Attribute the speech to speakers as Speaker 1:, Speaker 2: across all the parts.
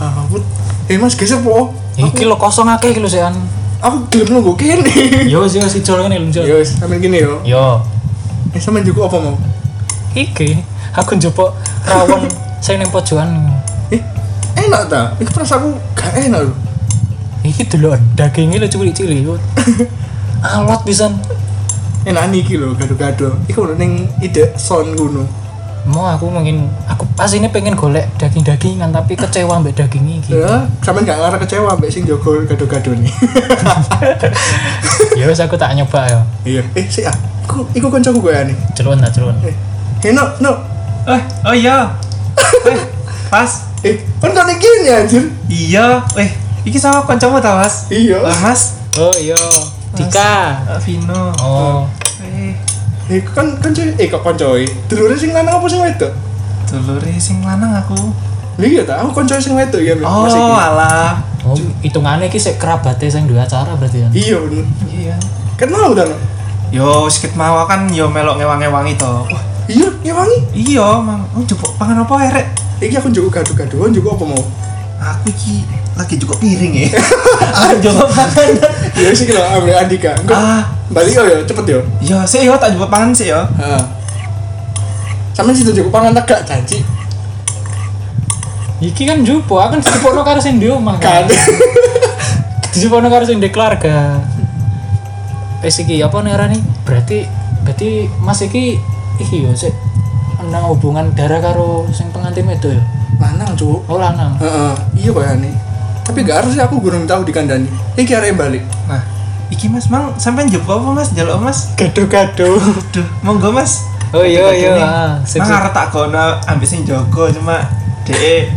Speaker 1: Ah, ampun. Eh Mas geser po.
Speaker 2: Iki lo kosong akeh iki lho sean.
Speaker 1: Aku gelem nunggu kene.
Speaker 2: Yo sih wis ijol kan ilmu
Speaker 1: Yo wis, sampean gini yo.
Speaker 2: Yo.
Speaker 1: Eh sampean juga apa mau?
Speaker 2: Iki aku njupuk rawon sing ning pojokan.
Speaker 1: Eh, enak ta? Eh, Iku perasaanku gak enak lho.
Speaker 2: Iki delok dagingnya lho cilik-cilik. yo. Alot pisan.
Speaker 1: Enak niki lho gado-gado. Iku lho ning ide son ngono.
Speaker 2: Mau aku mungkin aku pas ini pengen golek daging-dagingan tapi kecewa mbek daging iki.
Speaker 1: Ya, sampean gak ngarep kecewa mbek sing jago gado-gado nih.
Speaker 2: Ya wis aku tak nyoba ya.
Speaker 1: Iya. Eh, sik ah. Iku iku kancaku gue nih.
Speaker 2: Celun tak celun.
Speaker 1: Eh, eh no, no.
Speaker 3: Eh, oh iya. Eh, Mas.
Speaker 1: Eh, kan kan iki nih anjir.
Speaker 3: Iya. Eh, iki sama kancamu ta, Mas?
Speaker 1: Iya.
Speaker 3: Eh, Mas.
Speaker 2: Oh iya. Dika.
Speaker 3: Eh, Vino.
Speaker 2: Oh.
Speaker 3: Eh,
Speaker 1: Eh, kan kan eh kok kancoi. Dulure sing lanang apa sing wedok?
Speaker 3: dulure sing lanang aku.
Speaker 1: Lha iya ta, aku kancoi sing wedok ya. Mas, iki.
Speaker 3: Oh, alah.
Speaker 2: Oh, hitungannya iki sik kerabate sing duwe acara berarti ya.
Speaker 1: Iya bener.
Speaker 3: Iya.
Speaker 1: Kan mau dan.
Speaker 3: Yo, sikit mawa kan yo melok ngewangi-wangi to. Wah,
Speaker 1: Iya, ya wangi.
Speaker 3: iya, Mang. Oh, coba pangan apa erek?
Speaker 1: Iki aku juga gado-gadoan juga apa mau?
Speaker 3: Aku iki lagi cukup piring ya. Aku coba pangan.
Speaker 1: Iya sih kalau ambil Andika. Engko-
Speaker 3: Ah.
Speaker 1: Balik yo yo cepet yo.
Speaker 3: Yo, sik yo tak coba pangan sik yo.
Speaker 1: Heeh. Sampe situ cukup pangan tegak janji.
Speaker 2: Iki kan jupo, aku kan dijupukno karo sing di omah
Speaker 1: Kan.
Speaker 2: kan. Dijupukno karo sing di keluarga. Wis iki apa nih arane? Berarti berarti Mas iki iki yo sik nang hubungan darah karo sing pengantin itu ya.
Speaker 1: Lanang, Cuk.
Speaker 2: Oh lanang.
Speaker 1: Heeh. Iya kayane. Tapi gak harus sih aku gurung tahu dikandani. Iki arek balik.
Speaker 3: Nah, iki Mas, Mang, sampean jebol apa Mas? Jaluk Mas.
Speaker 1: Gado-gado.
Speaker 3: Duh, monggo Mas.
Speaker 2: Oh iya iya.
Speaker 3: Ini,
Speaker 2: ah, sik-
Speaker 3: Mang arep tak kono ambek sing jaga cuma dhek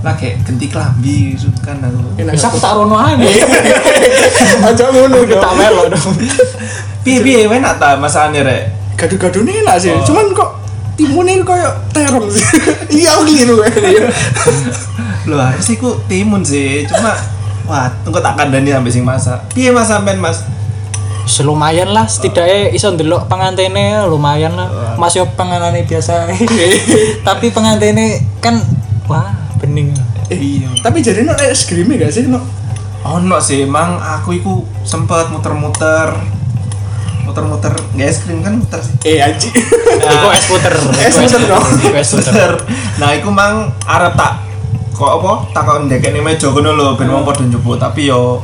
Speaker 3: lagi ganti klambi gitu kan aku.
Speaker 2: Wis aku tak rono ae.
Speaker 1: Aja ngono dong.
Speaker 2: Tak melo dong.
Speaker 3: Piye piye enak ta masane rek?
Speaker 1: Gado-gado nih enak sih. Cuman kok timunnya kayak terong sih. Iya aku keliru kayaknya.
Speaker 3: Lho harus iku timun sih, cuma wah, engko tak kandani ambek sing masak. Piye Mas sampean Mas?
Speaker 2: Wis lumayan lah, setidaknya iso ndelok pengantene lumayan lah. Mas yo penganane biasa. Tapi pengantene kan wah bening.
Speaker 3: Iya.
Speaker 1: Tapi jadi no es krimnya gak sih no?
Speaker 3: Ono sih, Mang, aku iku sempet muter-muter muter-muter nggak es krim kan muter sih
Speaker 1: Eh anji.
Speaker 2: Iku es puter.
Speaker 1: Es puter dong.
Speaker 2: Iku es puter.
Speaker 3: muter nah iku mang arep tak kok apa tak kok ndekek nih meja kono lho ben
Speaker 1: Hmm.
Speaker 3: wong padha njupuk tapi yo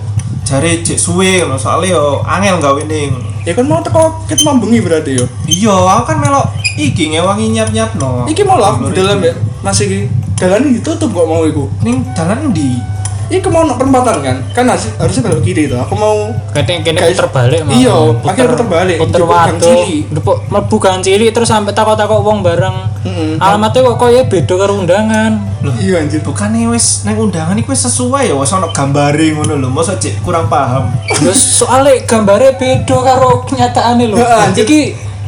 Speaker 3: jare cek suwe ngono soalnya yo angel gawe ning
Speaker 1: Ya kan mau teko ket mambengi berarti yo.
Speaker 3: iya aku kan melok iki ngewangi nyap-nyap no
Speaker 1: Iki mau lah aku di dalam ya. Masih iki. Dalan ini ditutup kok mau iku.
Speaker 3: ning dalan ndi
Speaker 1: Iki mau no perempatan kan? Kan harus- harusnya belok kiri tuh. Aku mau
Speaker 2: Kadang kene
Speaker 1: Guys,
Speaker 2: puter balik mah.
Speaker 1: iya, akhirnya puter balik.
Speaker 2: Puter
Speaker 1: Njupuk gang
Speaker 2: watu.
Speaker 1: cilik.
Speaker 2: Ndepuk mlebu gang cilik terus sampe takok-takok wong bareng.
Speaker 1: Mm-mm.
Speaker 2: Alamatnya kok koyo beda karo undangan.
Speaker 1: Iya anjir.
Speaker 3: bukannya wis neng undangan iku wis sesuai ya wis ono gambare ngono lho mosok cek kurang paham
Speaker 2: Terus soalnya gambarnya beda karo kenyataannya lho.
Speaker 1: Heeh, anjir.
Speaker 2: Iki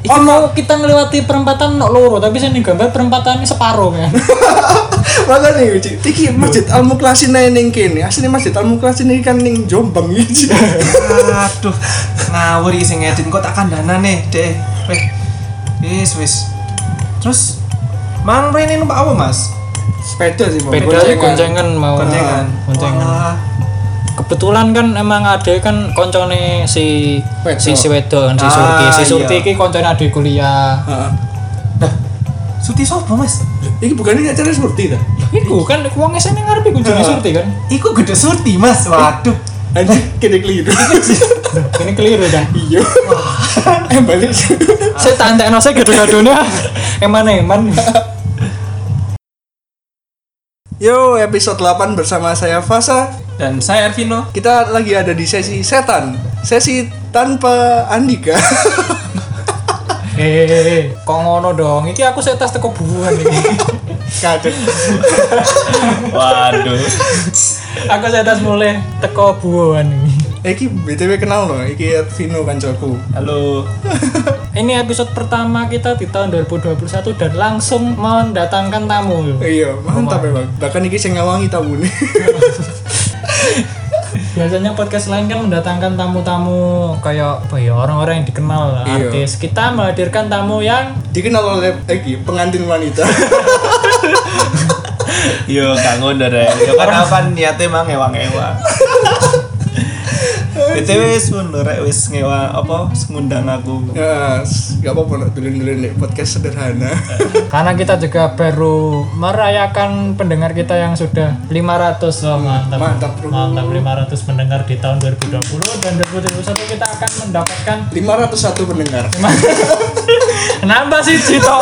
Speaker 2: Iki mau kita ngelewati perempatan nok loro, tapi sini gambar perempatannya separuh kan.
Speaker 1: Makanya nih Uci, iki masjid Al Mukhlasin ae ning kene. Asline masjid Al Mukhlasin iki kan ning Jombang iki.
Speaker 3: aduh ngawur iki sing ngedit kok tak kandana nih deh weh wis wis terus mang rene numpak apa mas
Speaker 1: Sepeda kan. sih, Bang.
Speaker 2: Beda aja goncengan mau.
Speaker 3: Kontengan.
Speaker 2: Goncengan.
Speaker 3: Oh, Wah.
Speaker 2: kebetulan kan emang ada kan koncone si
Speaker 1: Wedok.
Speaker 2: si si wedon si
Speaker 3: Ah,
Speaker 2: surti si surti
Speaker 3: iya.
Speaker 2: iki koncone adik kuliah
Speaker 1: Heeh.
Speaker 3: Dah. Suti sopo Mas?
Speaker 1: Iki bukannya acara seperti itu?
Speaker 2: iku kan wong sini ngarepe kunjungi
Speaker 1: Ah.
Speaker 2: surti kan
Speaker 3: Iku gede Suti Mas. Waduh.
Speaker 1: Anjir, kene keliru.
Speaker 2: ini keliru kan
Speaker 1: Iya. Eh balik.
Speaker 2: saya tak entekno saya gado-gadonya eman-eman
Speaker 1: Yo, episode 8 bersama saya Fasa.
Speaker 3: Dan saya Ervino.
Speaker 1: Kita lagi ada di sesi setan. Sesi tanpa Andika.
Speaker 2: eh kok ngono dong iki aku saya tes teko buruan iki
Speaker 1: Kadek.
Speaker 3: Waduh.
Speaker 2: aku saya tes mulai teko buruan iki
Speaker 1: Iki BTW kenal no, iki Vino kancaku.
Speaker 3: Halo.
Speaker 2: ini episode pertama kita di tahun 2021 dan langsung mendatangkan tamu
Speaker 1: Iya, mantap memang. Bahkan iki sing ngawangi tabune.
Speaker 2: biasanya podcast lain kan mendatangkan tamu-tamu kayak apa ya orang-orang yang dikenal lah,
Speaker 1: Iya.
Speaker 2: artis kita menghadirkan tamu yang
Speaker 1: Dikenal oleh iki pengantin wanita.
Speaker 3: Yo gak ngono rek. Yo kan apa niate mang ngewa-ngewa. BTW wis ngono rek wis ngewa apa ngundang aku.
Speaker 1: Ya, gak apa-apa nak dulin-dulin nih podcast sederhana.
Speaker 2: Karena kita juga baru merayakan pendengar kita yang sudah 500 loh, mantap.
Speaker 1: Hmm, mantap, bro.
Speaker 2: Mantap 500 pendengar di tahun 2020 dan 2021 kita akan mendapatkan
Speaker 1: 501 pendengar.
Speaker 2: nambah sih Cito.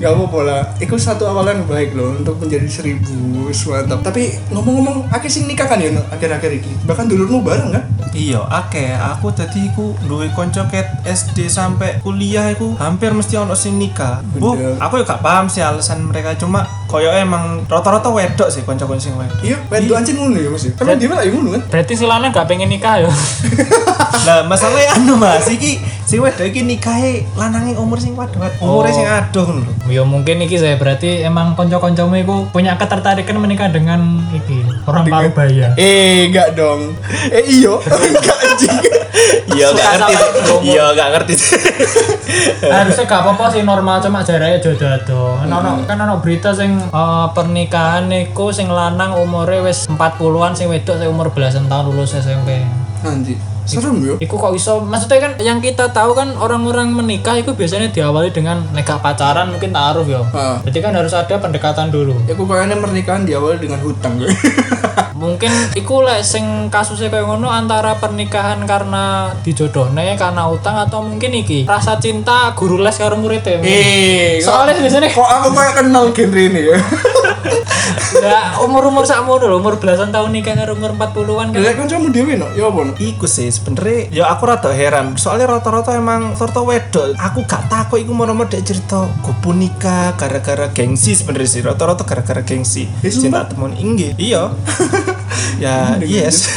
Speaker 1: Gak apa-apa lah. Itu satu awalan baik loh untuk menjadi seribu mantap. Tapi ngomong-ngomong, aku sih nikah kan ya no? akhir-akhir ini. Bahkan dulurmu bareng kan?
Speaker 3: Iya, akeh. Aku tadi iku duwe kanca ket SD sampai kuliah iku hampir mesti ono sing nikah. Bu,
Speaker 1: Bener.
Speaker 3: aku yo gak paham sih alasan mereka cuma koyo emang rata-rata wedok sih kanca-kanca sing wedok.
Speaker 1: Iya, bantu ancin ngono ya Mas. ya? Emang dia lah yang ngono kan?
Speaker 2: Berarti Silana gak pengen nikah ya.
Speaker 3: Nah, masalahnya anu Mas, iki sing wedok iki nikahe lanange umur sing padha.
Speaker 2: Oh.
Speaker 3: Umure sing adoh ngono lho.
Speaker 2: Ya mungkin iki saya berarti emang konco-koncomu iku punya ketertarikan menikah dengan iki orang Parubaya.
Speaker 1: Eh, enggak dong. Eh, iyo. Enggak anjing.
Speaker 3: Iya gak
Speaker 2: Suka
Speaker 3: ngerti.
Speaker 2: sama
Speaker 3: sih.
Speaker 2: promo.
Speaker 3: Iya gak ngerti. sih.
Speaker 2: harusnya gak apa-apa sih normal cuma jaraknya jodoh do
Speaker 3: Hmm.
Speaker 2: Nono kan ono berita sing eh, pernikahan niku sing lanang umure wis 40-an sing wedok sing umur belasan tahun lulus SMP
Speaker 1: Anjing. Serem yo.
Speaker 2: Iku kok iso maksudnya kan yang kita tahu kan orang-orang menikah itu biasanya diawali dengan negak pacaran mungkin taruh ya
Speaker 3: Hmm.
Speaker 1: Heeh.
Speaker 2: berarti kan harus ada pendekatan dulu
Speaker 1: Ah, Ya, aku kayaknya pernikahan diawali dengan hutang gue.
Speaker 2: mungkin iku lek sing kasusnya kayak ngono antara pernikahan karena dijodohne karena utang atau mungkin iki rasa cinta guru les karo muridnya mungkin.
Speaker 1: Eh,
Speaker 2: soalnya biasanya
Speaker 1: kok aku kayak kenal genre ini ya?
Speaker 2: Ya, umur-umur sakmu dulu, umur belasan tahun nikah karo umur 40-an kan.
Speaker 1: Lek kancamu dhewe no, ya apa no?
Speaker 3: Iku sih sebenernya ya aku rada heran soalnya rata-rata emang rata wedok aku gak takut iku moro-moro dek cerita kupu nikah gara-gara gengsi sebenernya sih rata-rata gara-gara gengsi
Speaker 1: Eh,
Speaker 3: cinta temen inggi iya ya yes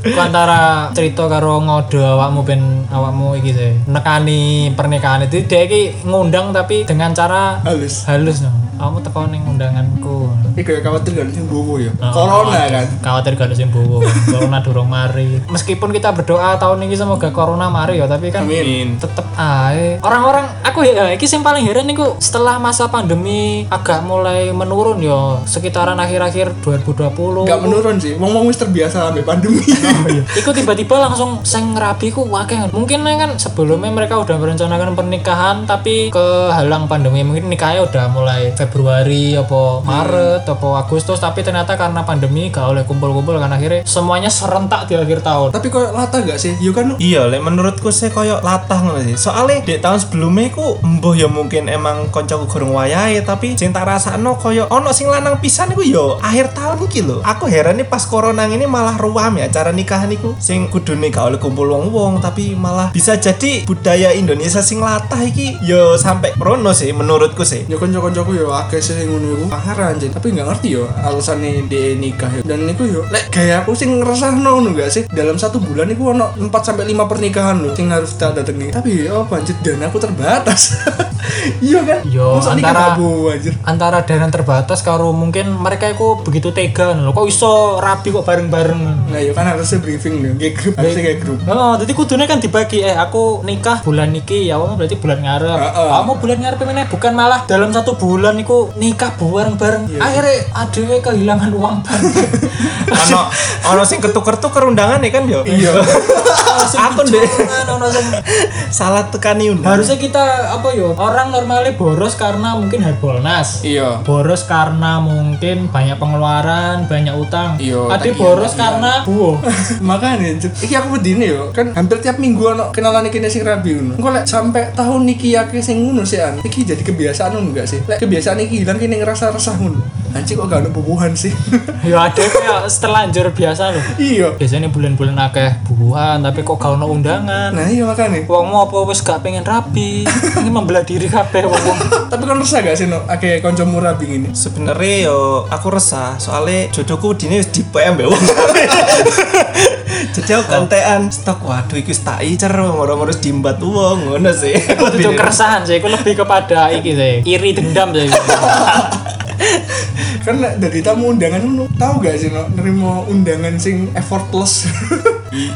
Speaker 2: Iku antara cerita karo ngode awakmu ben awakmu iki sih. Nekani pernikahan itu dia iki ngundang tapi dengan cara
Speaker 1: Halus.
Speaker 2: halus no. Kamu teko ning undanganku.
Speaker 1: Ini kayak khawatir kan sing bobo ya. Corona kan.
Speaker 2: Khawatir gak ada sing bowo. Corona durung mari. Meskipun kita berdoa tahun ini semoga corona mari ya, tapi kan
Speaker 1: Amin.
Speaker 2: tetep ae orang-orang aku ya iki sing paling heran niku setelah masa pandemi agak mulai menurun yo sekitaran akhir-akhir 2020
Speaker 1: Gak menurun sih. Wong-wong wis terbiasa sampai pandemi. Iya.
Speaker 2: Iku tiba-tiba langsung sing rabi ku wakil Mungkin kan sebelumnya mereka udah merencanakan pernikahan Tapi kehalang pandemi Mungkin nikahnya udah mulai Februari apa Maret apa Agustus Tapi ternyata karena pandemi gak oleh kumpul-kumpul Karena akhirnya semuanya serentak di akhir tahun
Speaker 1: Tapi kok lata gak sih? Yo kan
Speaker 3: iya lek menurutku sih koyo latah ngono sih soalnya dek tahun sebelumnya ku mbuh ya mungkin emang koncoku gorong wayahe tapi sing tak rasakno koyo ono sing lanang pisan iku yo akhir tahun iki lho aku heran nih pas corona ini malah ruam ya cara nikahan iku sing kudune gak oleh kumpul wong-wong tapi malah bisa jadi budaya Indonesia sing latah iki yo sampai rono sih menurutku sih
Speaker 1: Ya kanca-kancaku ya akeh sih sing ngono iku. Pahara anjir. Tapi gak ngerti ya alasannya dia nikah ya. Dan niku yo lek gaya aku sing ngeresahno ngono gak sih? Dalam satu bulan iku ono 4 sampai 5 pernikahan loh sing harus tak datengi. Tapi ya apa anjir dana aku terbatas. Iya kan?
Speaker 2: Yo,
Speaker 1: Masa nikah
Speaker 2: antara-
Speaker 1: tabu anjir.
Speaker 2: antara dana terbatas karo mungkin mereka itu begitu tega lho kok iso rapi kok bareng-bareng
Speaker 1: Nah, yo kan harusnya briefing dong, kayak grup, harusnya kayak grup.
Speaker 2: Oh, jadi kudunya kan dibagi eh aku nikah bulan niki ya kamu berarti bulan ngarep.
Speaker 1: Heeh.
Speaker 2: Kamu bulan ngarep meneh bukan malah dalam satu bulan niku nikah
Speaker 1: Iya,
Speaker 2: bareng-bareng. Akhirnya adewe kehilangan uang bank.
Speaker 3: ono ono sing ketuker-tuker undangan ya kan yo
Speaker 1: Iya.
Speaker 2: Ono sing
Speaker 3: Aku ndek.
Speaker 2: bujangan, ono sing-
Speaker 3: salah tekani undangan
Speaker 2: Harusnya kita apa yo orang normalnya boros karena mungkin harbolnas.
Speaker 1: Iya.
Speaker 2: Boros karena mungkin banyak pengeluaran, banyak utang.
Speaker 1: Iya, tak
Speaker 2: Ade
Speaker 1: iya,
Speaker 2: boros
Speaker 1: tak iya.
Speaker 2: karena buo.
Speaker 1: Makanya, Cuk. iki aku bedine yo, kan hampir tiap minggu ono kenalan iki nek sing rabi ngono. Engko lek sampe tahun niki yake sing ngono sih an. Iki jadi kebiasaan ngono enggak sih? Lek kebiasaan iki hilang kene ngerasa resah ngono. Anjir kok gak ono bubuhan sih.
Speaker 2: Yo ade kayak setelanjur biasa loh.
Speaker 1: iya.
Speaker 2: Biasanya bulan-bulan akeh bubuhan tapi kok gak ono undangan.
Speaker 1: Nah, iya makanya.
Speaker 2: Wongmu apa wis gak pengen rapi? Ini membelah diri kabeh wong.
Speaker 1: Tapi kan resah gak sih no akeh kancamu rabi ngene?
Speaker 3: sebenarnya yo aku resah soalnya jodohku dini wis di PM wong jadi aku kantean stok waduh iku wis tak icer moro-moro wis diimbat wong ngono sih
Speaker 2: Aku tuh keresahan sih, aku lebih kepada iki sih, iri dendam sih.
Speaker 1: Kan lek dari tamu undangan ngono, tahu gak sih no nerimo undangan sing effortless.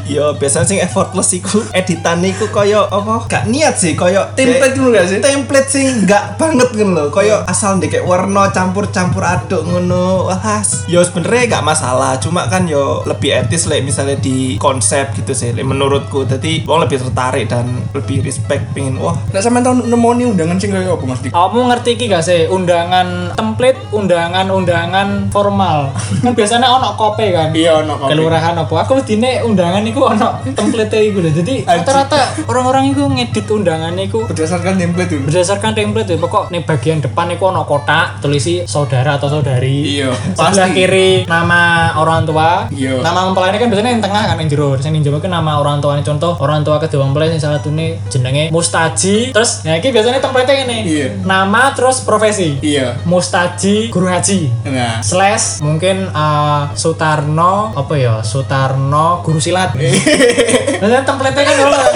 Speaker 3: Iya, biasanya sing effortless iku editan iku koyo apa? Gak niat sih, koyo
Speaker 1: Template
Speaker 3: dek-
Speaker 1: dulu gak sih? Hmm.
Speaker 3: Template sing gak banget ngono lho, koyo asal ndekek warna campur-campur aduk ngono. Wah, yo sebenernya gak masalah, cuma kan yo lebih etis lek misalnya di konsep gitu sih, lek menurutku. Jadi wong lebih tertarik dan lebih respect pengen wah
Speaker 1: Nek sampean tau nemoni undangan sing kaya apa Mas Dik?
Speaker 2: Kamu ngerti iki gak sih undangan template, undangan-undangan formal. Kan biasanya ono kope kan.
Speaker 1: Iya ono kopi.
Speaker 2: Kelurahan apa? Aku dine undangan iku ono template iku lho. Jadi rata-rata orang-orang iku ngedit undangan iku
Speaker 1: Berdasarkan template dulu.
Speaker 2: berdasarkan template ya pokok nih bagian depan itu ono kotak tulisi saudara atau saudari
Speaker 1: Iya,
Speaker 2: sebelah
Speaker 1: pasti.
Speaker 2: kiri nama orang tua
Speaker 1: Iya.
Speaker 2: nama mempelai kan biasanya yang tengah kan yang jero terus yang jero kan nama orang tuanya contoh orang tua kedua mempelai yang salah satunya jenenge Mustaji terus nah ini biasanya template ini
Speaker 1: Iya.
Speaker 2: nama terus profesi
Speaker 1: Iya.
Speaker 2: Mustaji guru haji
Speaker 1: Nah,
Speaker 2: slash mungkin eh, Sutarno apa ya Sutarno guru silat Maksudnya template kan orang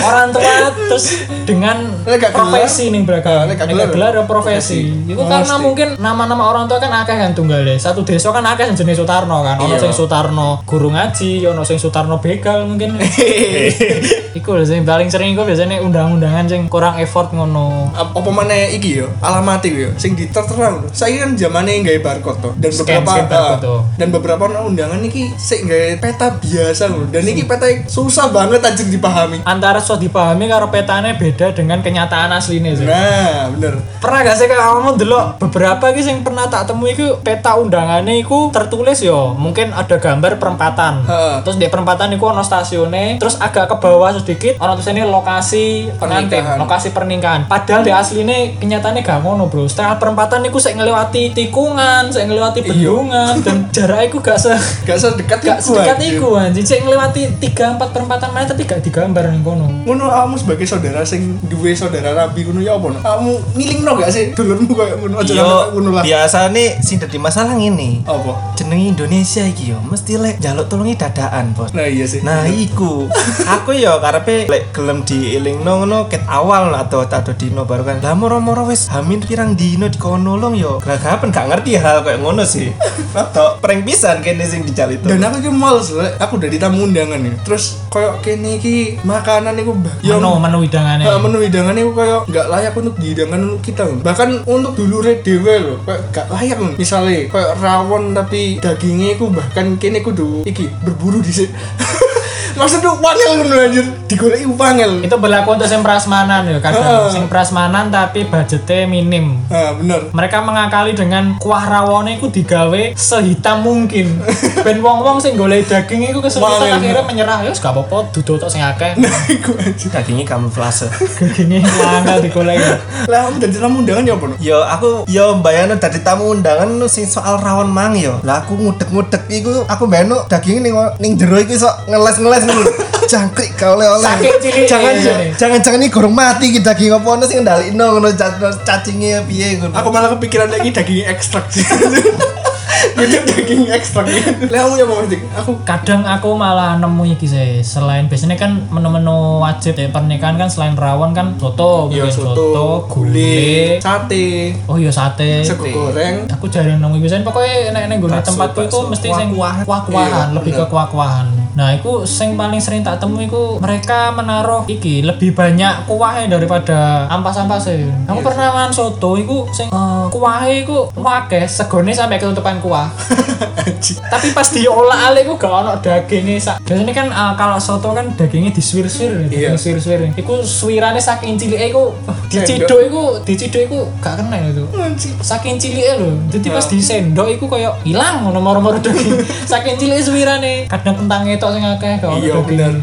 Speaker 2: orang tua terus dengan
Speaker 1: Lek gak
Speaker 2: profesi nih belakang
Speaker 1: Lek gak
Speaker 2: Lek gak
Speaker 1: gelar.
Speaker 2: gelar ya profesi itu
Speaker 1: Mesti.
Speaker 2: karena mungkin nama-nama orang tua kan akeh kan tunggalnya satu desa kan akeh jenis Sutarno kan ono
Speaker 1: Iya.
Speaker 2: sing Sutarno guru ngaji ono sing Sutarno begal mungkin iku lho sing paling sering iku biasanya undang-undangan sing kurang effort ngono
Speaker 1: Ap- apa mana iki yo alamat iki yo sing ditertera lho. Saiki kan zamane nggawe barcode to dan
Speaker 2: Scan,
Speaker 1: beberapa
Speaker 2: scan barcode
Speaker 1: ah,
Speaker 2: to.
Speaker 1: dan beberapa undangan iki sik nggawe peta biasa lho. Dan iki peta e susah banget anjir dipahami.
Speaker 2: antara sudah dipahami karo petane beda dengan kenyataan aslinya sih
Speaker 1: Nah, bener.
Speaker 2: pernah gak sih kalau kamu delok beberapa ki sing pernah tak temui iku peta undangannya iku tertulis yo mungkin ada gambar perempatan
Speaker 1: Heeh.
Speaker 2: terus di perempatan iku ono stasiunnya terus agak ke bawah sedikit ono tulisannya lokasi pengantin
Speaker 1: Pernikahan.
Speaker 2: lokasi pernikahan padahal di aslinya kenyataannya gak ngono bro setengah perempatan iku saya ngelewati tikungan saya ngelewati bendungan dan jaraknya iku gak se
Speaker 1: Gak sedekat Iya.
Speaker 2: gak
Speaker 1: iku,
Speaker 2: sedekat
Speaker 1: anjir.
Speaker 2: iku anjing saya ngelewati 3 4 perempatan mana tapi gak digambar ning kono
Speaker 1: Ngono kamu sebagai saudara sing duwe saudara rabi ngono ya apa? no? Kamu ngilingno gak sih dulurmu koyo ngono aja
Speaker 2: Iya.
Speaker 3: yo
Speaker 1: Oh, ngono lah.
Speaker 3: Iya,
Speaker 1: Oh.
Speaker 3: biasa nih sing dadi masalah ngene.
Speaker 1: Apa?
Speaker 3: Jenenge Indonesia iki yo mesti lek jaluk tulungi dadaan, Bos.
Speaker 1: Nah, iya sih.
Speaker 3: Nah iku Aku ya karepe Lek gelem dieling ngono Ket awal Atau atau dino baru kan Lah moro-moro wis Hamin pirang dino dikonolong yo Gelagapan gak ngerti hal kayak ngono sih Atau prank pisan kene sing dijal itu
Speaker 1: dan aku iki males lho. aku udah ditamu undangan ya terus koyo kene iki makanan iku bah ya
Speaker 2: menu menu hidangannya
Speaker 1: Nah, menu hidangannya kok kayak nggak layak untuk dihidangkan untuk kita loh. bahkan untuk dulure dhewe loh kayak nggak layak loh. misalnya kayak rawon tapi dagingnya itu bahkan kini kudu iki berburu di sini maksudnya wangel ngono anjir digoleki wangel
Speaker 2: itu berlaku untuk yang prasmanan ya kadang
Speaker 1: Heeh.
Speaker 2: yang prasmanan tapi budgetnya minim
Speaker 1: nah bener
Speaker 2: mereka mengakali dengan kuah rawone itu digawe sehitam mungkin ben wong wong sing golek daging itu
Speaker 1: Wangen.
Speaker 2: kesulitan akhirnya menyerah ya gak apa-apa duduk tok sing akeh
Speaker 1: nah iku anjir
Speaker 3: Dagingnya kamuflase
Speaker 2: dagingnya langka digolek
Speaker 1: lah kamu dari tamu undangan ya apa no?
Speaker 3: Yo aku yo mbayano dari tamu undangan nu sing soal rawon mang yo. Lah aku ngudek-ngudek iku aku mbayano daging ning ning jero iku sok ngeles-ngeles ngono. Jangkrik kau oleh.
Speaker 2: Saking cilik.
Speaker 3: Jangan
Speaker 2: Iya, iya.
Speaker 3: jangan-jangan iki gorong mati iki daging apa ono sing ndalikno ngono ca- cacinge piye ngono.
Speaker 1: aku malah kepikiran lagi daging ekstrak sih Gitu daging ekstrak gitu. Lah kamu ya mau Aku
Speaker 2: kadang aku malah nemu iki sih selain biasanya kan menu-menu wajib di pernikahan kan selain rawon kan soto
Speaker 1: ya
Speaker 2: mungkin
Speaker 1: soto, gulai,
Speaker 2: gulai
Speaker 1: sate,
Speaker 2: oh iya sate
Speaker 1: sego goreng,
Speaker 2: aku jarang nemu biasanya pokoknya enak enak gue
Speaker 3: Bakso,
Speaker 2: tempatku itu
Speaker 3: bakso.
Speaker 2: mesti sing
Speaker 3: Kuah-kuahan.
Speaker 2: kuah kuahan
Speaker 1: Iya,
Speaker 2: lebih
Speaker 1: bener.
Speaker 2: ke kuah kuahan nah itu sing paling sering tak temui iku mereka menaruh iki lebih banyak kuahnya daripada ampas ampasnya
Speaker 1: Iya.
Speaker 2: aku pernah makan soto itu sing eh, kuahnya itu wakeh segone sampai ketutupan kuah tapi pas diolah ale ku gak ono dagingnya sak biasanya kan eh, kalau soto kan dagingnya disuir-suir
Speaker 1: Iya.
Speaker 2: disuir-suir iku suirane saking cilik iku diciduk iku diciduk iku gak kena itu
Speaker 1: Anjir.
Speaker 2: saking cilik lho jadi
Speaker 1: Hmm.
Speaker 2: pas disendok iku koyo hilang ngono moro-moro daging saking cilik suwirane kadang kentang tok sing akeh kok
Speaker 1: Iya, bener.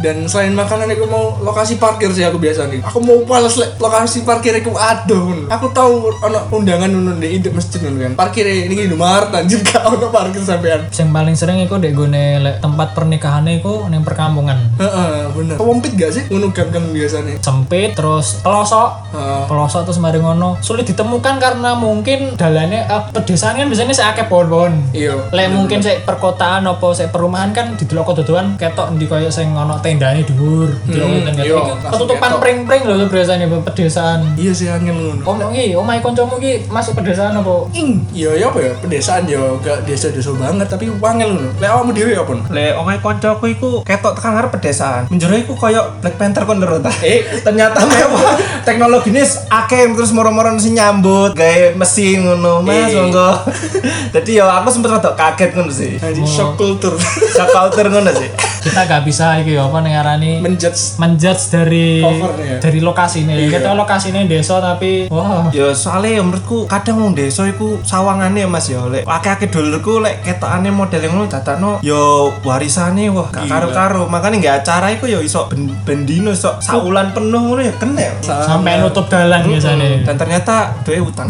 Speaker 1: Dan selain makanan aku mau lokasi parkir sih aku biasa nih. Aku mau pales lek lokasi parkir aku aduh. Aku tahu ono undangan ono di ide masjid ngono kan. Parkir ini di Mart anjir gak ono parkir sampean.
Speaker 2: yang paling sering iku ndek gone lek tempat pernikahannya iku ning perkampungan
Speaker 1: Heeh, bener. Kewempit gak sih ngono gang-gang biasanya?
Speaker 2: sempit terus pelosok
Speaker 1: Heeh.
Speaker 2: pelosok terus mari ngono sulit ditemukan karena mungkin dalannya eh, pedesaan kan biasanya seakeh pohon-pohon
Speaker 1: Iya.
Speaker 2: Lek mungkin sik perkotaan apa sik perumahan kan didelok dodoan ketok endi koyo sing ono tenda endane dhuwur, delok
Speaker 1: Hmm,
Speaker 2: wetan
Speaker 1: iya,
Speaker 2: iki.
Speaker 1: langsung
Speaker 2: Ketutupan
Speaker 1: ketok.
Speaker 2: pring-pring lho biasanya Pak, pedesaan.
Speaker 1: iya sih angin ngono
Speaker 2: Omong iki, omahe kancamu iki masuk pedesaan apa?
Speaker 1: ing iya ya apa ya pedesaan ya gak desa-desa banget tapi wangel ngono lek awakmu dhewe apa Nun?
Speaker 3: Le omahe koncoku iku ketok tekan arep pedesaan. Menjero iku koyo Black Panther kon lho ta.
Speaker 1: Eh.
Speaker 3: ternyata mewah. Teknologine akeh terus moro-moro sing nyambut gawe mesin ngono
Speaker 1: Eh.
Speaker 3: Mas monggo. Dadi yo aku sempet rada kaget ngono sih.
Speaker 1: Anjing shock culture
Speaker 3: Shock culture ngono sih.
Speaker 2: Kita gak bisa iki ya, apa ning arani
Speaker 1: menjudge
Speaker 2: menjudge dari
Speaker 1: Covernya.
Speaker 2: dari lokasinya.
Speaker 1: ya. Iya.
Speaker 2: Kita lokasinya desa tapi wah
Speaker 3: Yo soalnya ya menurutku kadang wong desa iku sawangane ya Mas yo lek akeh-akeh dulurku lek ketokane model yang ngono dadakno yo warisane wah
Speaker 1: Gila.
Speaker 3: gak karo-karo makane nggak acara iku yo iso ben- bendino iso saulan penuh ngono ya kena.
Speaker 2: sampai nutup
Speaker 1: Hmm.
Speaker 2: dalan biasanya.
Speaker 3: Dan ternyata duwe utang.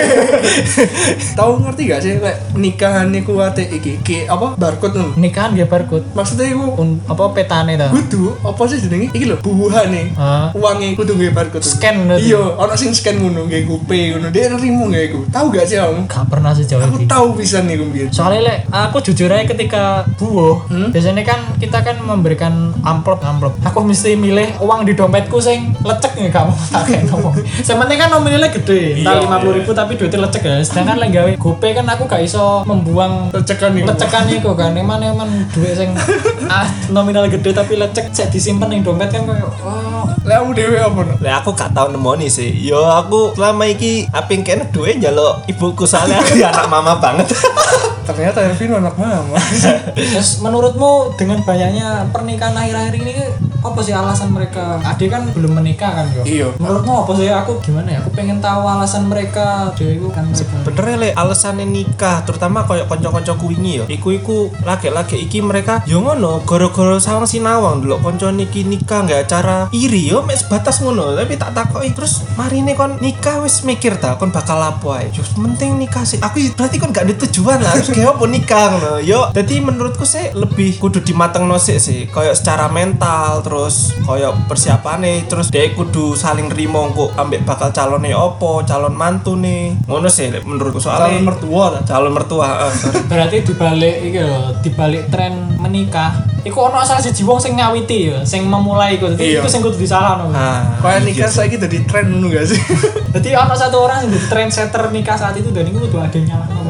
Speaker 1: tahu ngerti gak sih lek nikahan niku ate iki ki apa barcode ngono
Speaker 2: Nikahan gak barcode.
Speaker 1: maksudnya iku
Speaker 2: Un, apa petane ta?
Speaker 1: kudu apa sih jenenge iki lho bubuhane
Speaker 2: Hah?
Speaker 1: uangnya kudu nggih barcode
Speaker 2: Scan berarti?
Speaker 1: iya ana sing scan ngono nggih GoPay ngono dia nerimo nggih iku tahu gak sih kamu
Speaker 2: Gak pernah sejauh
Speaker 1: aku
Speaker 2: itu.
Speaker 1: tahu pisan niku mbiyen
Speaker 2: soalnya lek aku jujur aja ketika buwo
Speaker 1: Hmm?
Speaker 2: biasanya kan kita kan memberikan amplop amplop aku mesti milih uang di dompetku sing lecek nih kamu pakai ngomong sementing kan nominalnya gede entah
Speaker 1: Iya.
Speaker 2: lima ribu tapi duitnya lecek ya sedangkan lek gawe gopay kan aku gak iso membuang
Speaker 1: Lecekan iku.
Speaker 2: lecekan iku kan eman eman duit sing ah nominal gede tapi lecek cek disimpan ning dompet kan kayak oh
Speaker 1: lek aku dhewe apa no?
Speaker 3: Lah aku gak tau nemoni sih. Yo aku selama iki aping kene duwe njaluk ibuku soalnya aku ya anak mama banget.
Speaker 1: ternyata Ervin anak mama
Speaker 2: Ah, Terus menurutmu dengan banyaknya pernikahan akhir-akhir ini apa sih alasan mereka? Ade kan belum menikah kan yo.
Speaker 1: Iya.
Speaker 2: Menurutmu apa sih aku gimana ya? Aku pengen tahu alasan mereka. Dewi itu kan mereka.
Speaker 3: Bener le alasannya nikah terutama koyo kanca-kancaku wingi yo. Iku iku laki-laki iki mereka yo ngono gara-gara sawang sinawang dulu kanca niki nikah nggak acara iri yo mek sebatas ngono. Tapi tak takoki terus marine kon nikah wis mikir ta kon bakal apa ae. Yo penting nikah sih. Aku berarti kon gak ada tujuan lah harus kayak apa nikah ngono. Yo dadi menurutku sih lebih kudu dimatengno sik sih koyo secara mental terus koyo persiapane terus dek kudu saling rimo kok ambek bakal calonnya opo calon mantu nih ngono sih le, menurutku soalnya
Speaker 1: calon mertua ta?
Speaker 3: calon mertua eh, sorry.
Speaker 2: Berarti dibalik iki lho, dibalik tren menikah. Iku ono salah siji wong sing ngawiti ya, sing memulai iku. Dadi
Speaker 1: Iya.
Speaker 2: iku sing kudu disalahno.
Speaker 3: nah
Speaker 1: kayak
Speaker 2: iya
Speaker 1: nikah saiki dadi tren ngono gak sih
Speaker 2: Dadi ono satu orang sing jadi trendsetter nikah saat itu dan iku kudu ada yang nyalahno.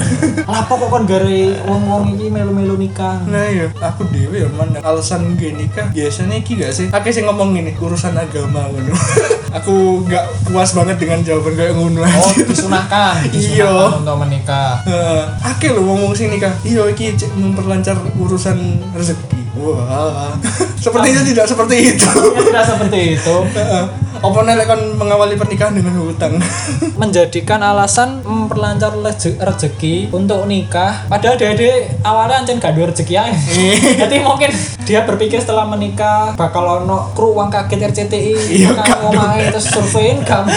Speaker 2: Lah apa kok kon gawe wong-wong iki melu-melu nikah?
Speaker 1: Nah iya, aku dewe ya man alasan gue nikah biasanya iki gak sih? Aku sih ngomong gini, urusan agama ngono. aku gak puas banget dengan jawaban kayak ngono
Speaker 2: Oh,
Speaker 1: aja.
Speaker 2: disunahkan,
Speaker 1: Iya.
Speaker 2: disunahkan untuk menikah.
Speaker 1: Heeh. Ake Eh, lho wong wong sing nikah. Iya iki cek memperlancar urusan rezeki. Wah. Sepertinya tidak seperti itu.
Speaker 2: Ya, tidak seperti itu
Speaker 1: Heeh. Apa nek kon mengawali pernikahan dengan hutang?
Speaker 2: menjadikan alasan memperlancar leje- rezeki untuk nikah padahal dede awalnya ancen gak ada rezeki aja
Speaker 1: Iya.
Speaker 2: jadi mungkin dia berpikir setelah menikah bakal ono kru uang kaget RCTI
Speaker 1: Iya, gak
Speaker 2: bakal ngomongin terus surveiin kamu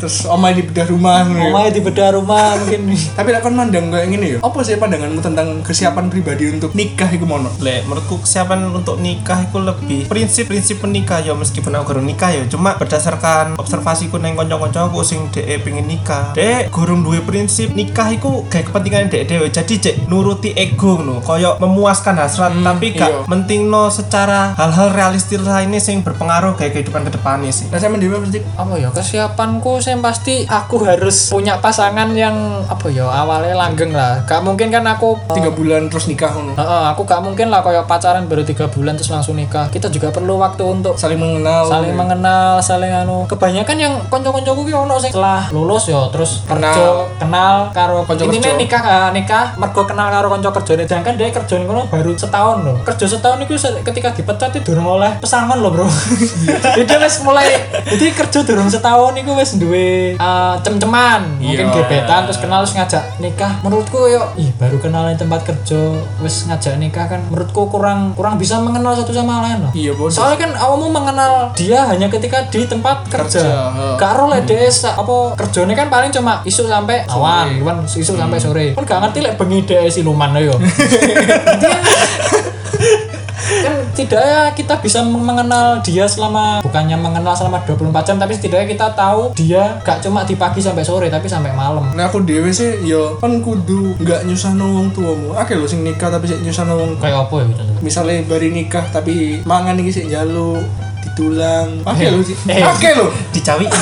Speaker 1: Terus omah di bedah rumah ngono. ya.
Speaker 2: ngomongin di bedah rumah mungkin
Speaker 1: Tapi lek kon mandang kayak gini ya. Apa sih pandanganmu tentang kesiapan pribadi untuk nikah iku mono?
Speaker 3: Le, menurutku kesiapan untuk nikah itu lebih prinsip-prinsip menikah ya meskipun aku gurung nikah ya cuma berdasarkan observasiku neng kanca-kancaku sing dhek pengen nikah. Dek gurung duwe prinsip nikah iku kayak kepentingan dhek dhewe. Jadi cek nuruti ego ngono, koyo memuaskan hasrat tapi
Speaker 1: iya.
Speaker 3: gak pentingno secara hal-hal realistis lainnya sing berpengaruh kayak kehidupan kedepannya sih.
Speaker 1: Rasanya dewe berarti
Speaker 2: apa ya kesiapanku saya pasti aku harus punya pasangan yang apa ya awalnya langgeng lah gak mungkin kan aku
Speaker 1: tiga bulan terus nikah ngono.
Speaker 2: Heeh, aku gak mungkin lah kayak pacaran baru tiga bulan terus langsung nikah. Kita juga perlu waktu untuk
Speaker 1: saling mengenal Iya.
Speaker 2: saling mengenal, saling anu. Kebanyakan yang konco-koncoku ki ono sing setelah lulus yo terus
Speaker 1: Kenal.
Speaker 2: kerja, kenal karo
Speaker 1: Konco
Speaker 2: konco Intinya
Speaker 1: kerja.
Speaker 2: nikah eh, nikah mergo kenal karo konco kerjane. Sedangkan dia kerjane kono baru setahun loh. Kerja setahun itu ketika dipecat itu durung oleh pesangon loh, Bro. Jadi dia wis mulai jadi kerja durung setahun iku wis duwe eh, cem-ceman, mungkin
Speaker 1: Iya.
Speaker 2: gebetan terus kenal terus ngajak nikah. Menurutku yo ih baru kenalin tempat kerja wis ngajak nikah kan menurutku kurang kurang bisa mengenal satu sama lain loh.
Speaker 1: Iya, bodoh.
Speaker 2: Soalnya kan awakmu mengenal dia hanya ketika di tempat kerja.
Speaker 1: Kerja, heeh.
Speaker 2: Karo lek desa apa kerjane kan paling cuma isuk sampai Hmm. awan, Hmm. iwan isuk sampai sore. Kan gak ngerti lek bengi dhek siluman lho yo. kan tidaknya kita bisa mengenal dia selama bukannya mengenal selama 24 jam tapi setidaknya kita tahu dia gak cuma di pagi sampai sore tapi sampai malam
Speaker 1: Nah aku dewe sih yo kan kudu nggak nyusahno wong tuamu. Akeh lho sing nikah tapi sik nyusahno wong
Speaker 2: kayak apa ya contohnya
Speaker 1: misalnya bari nikah tapi mangan iki sik njaluk ditulang. Akeh lho sih.
Speaker 2: Eh.
Speaker 1: Akeh lho.
Speaker 3: dicawi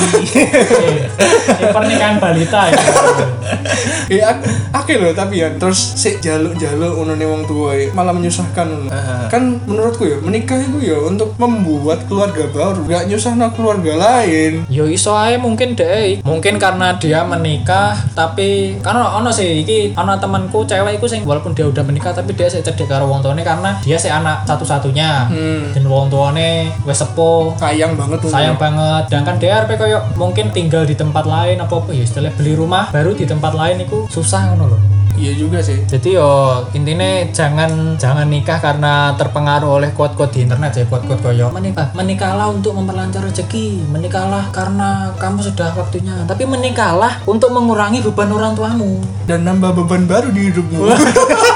Speaker 2: Eh, eh, pernikahan balita ya
Speaker 1: Eh ak- akeh lho tapi ya terus sik njaluk-njaluk onone wong tuwa eh, malah menyusahkan. ngono.
Speaker 3: Aha.
Speaker 1: Kan menurutku ya menikah itu ya untuk membuat keluarga baru, nggak nyusahno keluarga lain.
Speaker 2: Yo iso ae mungkin deh. Mungkin karena dia menikah tapi karena ono sih iki ono temanku cewek iku sing walaupun dia udah menikah tapi dia sih cedek karo wong tuane karena dia sih anak satu-satunya.
Speaker 1: Hmm.
Speaker 2: Dan wong tuane wis sepuh,
Speaker 1: Sayang banget ngono.
Speaker 2: sayang banget. Sedangkan DRP koyo mungkin tinggal di tempat lain apa apa ya istilahnya beli rumah baru di tempat lain itu susah ngono loh.
Speaker 1: Iya juga sih.
Speaker 2: Jadi yo intinya jangan jangan nikah karena terpengaruh oleh quote-quote di internet ya quote-quote koyo menikah menikahlah untuk memperlancar rezeki menikahlah karena kamu sudah waktunya tapi menikahlah untuk mengurangi beban orang tuamu
Speaker 1: Dan nambah beban baru di hidupmu.